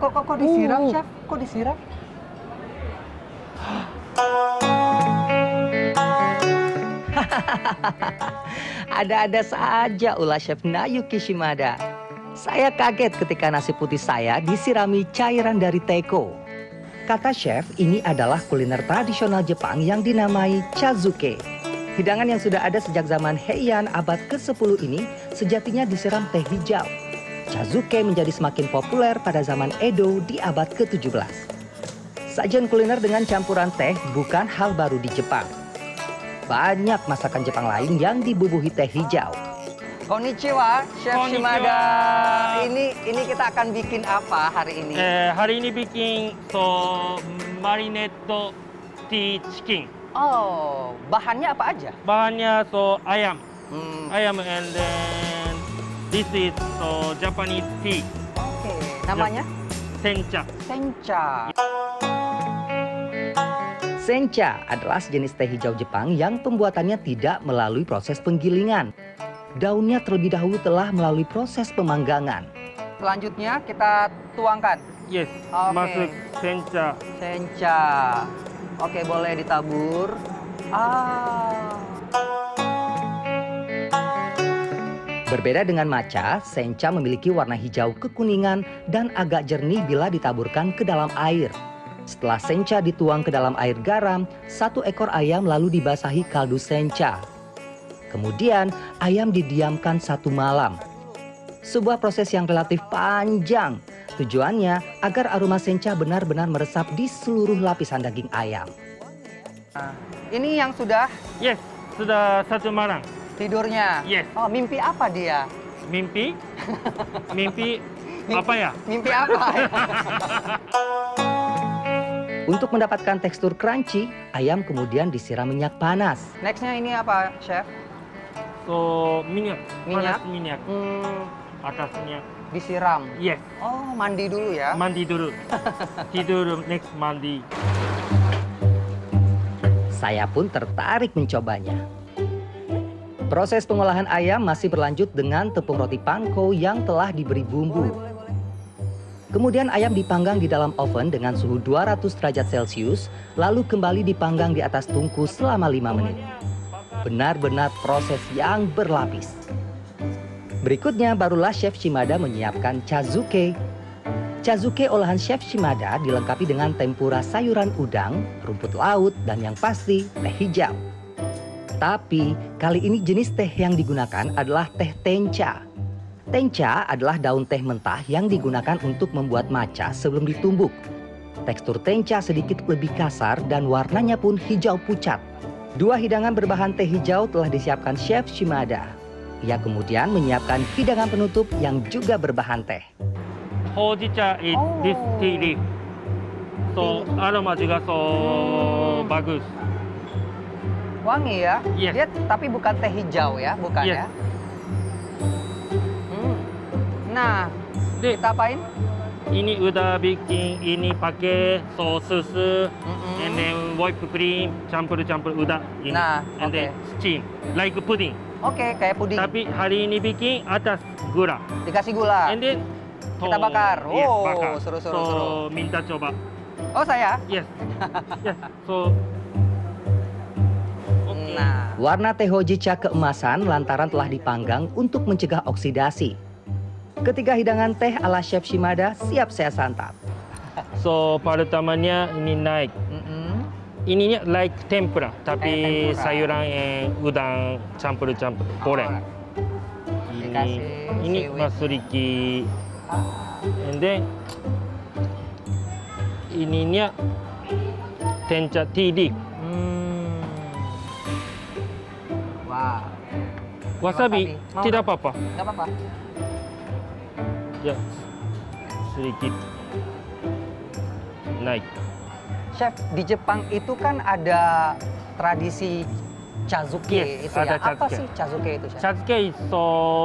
kok kok disiram, Uh. Chef? Kok disiram? Ada-ada saja ulah Chef Nayuki Shimada. Saya kaget ketika nasi putih saya disirami cairan dari teko. Kata chef, ini adalah kuliner tradisional Jepang yang dinamai chazuke. Hidangan yang sudah ada sejak zaman Heian abad ke-10 ini sejatinya disiram teh hijau. Chazuke menjadi semakin populer pada zaman Edo di abad ke-17. Sajian kuliner dengan campuran teh bukan hal baru di Jepang. Banyak masakan Jepang lain yang dibubuhi teh hijau. Konnichiwa, Chef Konnichiwa. Shimada. Ini ini kita akan bikin apa hari ini? Eh, hari ini bikin so marinade tea chicken. Oh, bahannya apa aja? Bahannya so ayam, Hmm, ayam and then this is so Japanese tea Oke, namanya sencha. sencha. Sencha adalah sejenis teh hijau Jepang yang pembuatannya tidak melalui proses penggilingan. Daunnya terlebih dahulu telah melalui proses pemanggangan. Selanjutnya kita tuangkan Yes, Okay. masuk sencha. sencha. Oke, boleh ditabur. Ah. Berbeda dengan matcha, sencha memiliki warna hijau kekuningan dan agak jernih bila ditaburkan ke dalam air. Setelah sencha dituang ke dalam air garam, satu ekor ayam lalu dibasahi kaldu sencha. Kemudian, ayam didiamkan satu malam. Sebuah proses yang relatif panjang. Tujuannya agar aroma sencha benar-benar meresap di seluruh lapisan daging ayam. Ini yang sudah Yes, sudah satu malam. tidurnya. Yes, Oh, mimpi apa dia? mimpi, mimpi apa ya? Mimpi apa? Untuk mendapatkan tekstur crunchy, ayam kemudian disiram minyak panas. Nextnya ini apa, Chef? So minyak, Minyak? panas minyak Hmm, atasnya. disiram. Yes, Oh, mandi dulu ya. mandi dulu. Tidur next mandi. Saya pun tertarik mencobanya. Proses pengolahan ayam masih berlanjut dengan tepung roti panko yang telah diberi bumbu. Kemudian ayam dipanggang di dalam oven dengan suhu 200 derajat Celcius, lalu kembali dipanggang di atas tungku selama 5 menit. Benar-benar proses yang berlapis. Berikutnya barulah Chef Shimada menyiapkan chazuke. Chazuke olahan Chef Shimada dilengkapi dengan tempura sayuran udang, rumput laut, dan yang pasti teh hijau. Tapi kali ini jenis teh yang digunakan adalah teh tencha. Tencha adalah daun teh mentah yang digunakan untuk membuat matcha sebelum ditumbuk. Tekstur tencha sedikit lebih kasar dan warnanya pun hijau pucat. Dua hidangan berbahan teh hijau telah disiapkan Chef Shimada. Ia kemudian menyiapkan hidangan penutup yang juga berbahan teh. Hojicha is this tea leaf. So aroma juga so bagus. Wangi ya. Yes. Dia tapi bukan teh hijau ya, bukan Yes. ya. Hmm. Nah, Di- kita apain? Ini udah bikin ini pakai so susu Mm-mm. and then whipped cream campur-campur udah ini. Nah, and oke. then steam like pudding. Oke, kayak puding. Tapi hari ini bikin atas gula. Dikasih gula. And then Nah. Kita so- bakar. Yes, Oh, bakar. seru, seru, so, seru. minta coba. Oh, saya. Yes. yes. So Okay. Nah, Warna teh hojicha keemasan lantaran telah dipanggang untuk mencegah oksidasi. Ketiga hidangan teh ala Chef Shimada siap saya santap. So pertamanya ini naik. mm-mm. Ininya like tempura, tapi Kayak tempura. sayuran yang udang campur-campur. Boleh. Alright. Ini, Dikasih ini seaweed. masuriki. And then ininya tenca tidi. Hmm. Wah, Wasabi, Wasabi. Mau tidak apa-apa. nggak apa-apa. Ya, sedikit. Naik. Chef, di Jepang itu kan ada tradisi chazuke Yes, itu ya. ada Apa chazuke. sih chazuke itu, Chef? Chazuke so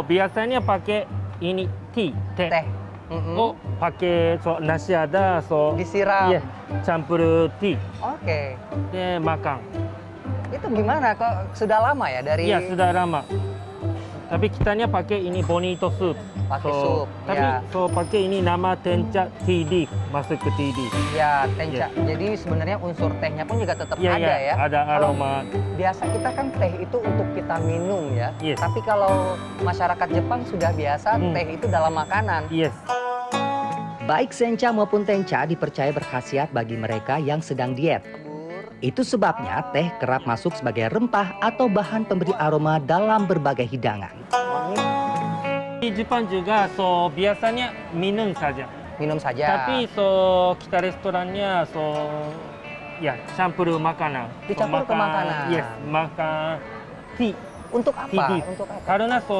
biasanya pakai ini tea, teh. Teh. Mm-mm. Oh, pakai so nasi ada so Disiram. Iya, campur tea, Oke. dan makan. Itu gimana kok sudah lama ya dari Iya, sudah lama. Tapi kitanya pakai ini bonito soup. Pakai sup, Oh, Tapi ya. so pakai ini nama tenca tea leaf, masuk ke tea leaf. Ya, tenca. Jadi sebenarnya unsur tehnya pun juga tetap Iya, ada iya, ya. ada aroma. Biasa kita kan teh itu untuk kita minum ya. Yes. Tapi kalau masyarakat Jepang sudah biasa Hmm. teh itu dalam makanan. Yes. Baik sencha maupun tencha dipercaya berkhasiat bagi mereka yang sedang diet. Itu sebabnya teh kerap masuk sebagai rempah atau bahan pemberi aroma dalam berbagai hidangan. Di Jepang juga so biasanya minum saja. Minum saja. Tapi so kita restorannya so ya campur makanan. So, Dicampur ke makanan. Yes, makan tea. untuk apa? Tidih. Untuk apa? Karena so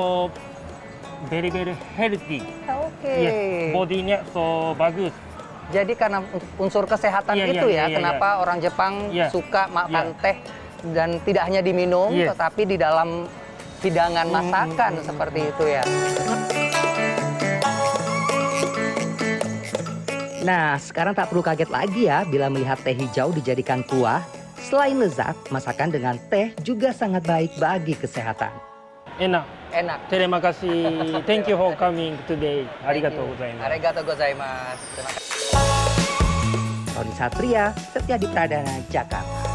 very very healthy. Ya, Oke. Yes, Eh. bodinya so bagus. Jadi karena unsur kesehatan Iya, itu iya, ya, iya, kenapa orang Jepang Iya. Iya. suka makan teh dan tidak hanya diminum, Yes. tetapi di dalam hidangan Mm, masakan mm, mm, seperti itu ya. Nah, sekarang tak perlu kaget lagi ya bila melihat teh hijau dijadikan kuah. Selain lezat, masakan dengan teh juga sangat baik bagi kesehatan. Enak. Enak. Terima kasih. Thank you for coming today. Arigatou gozaimasu. Arigatou gozaimasu. Terima kasih. Roni Satria, Setia di Pradana, Jakarta.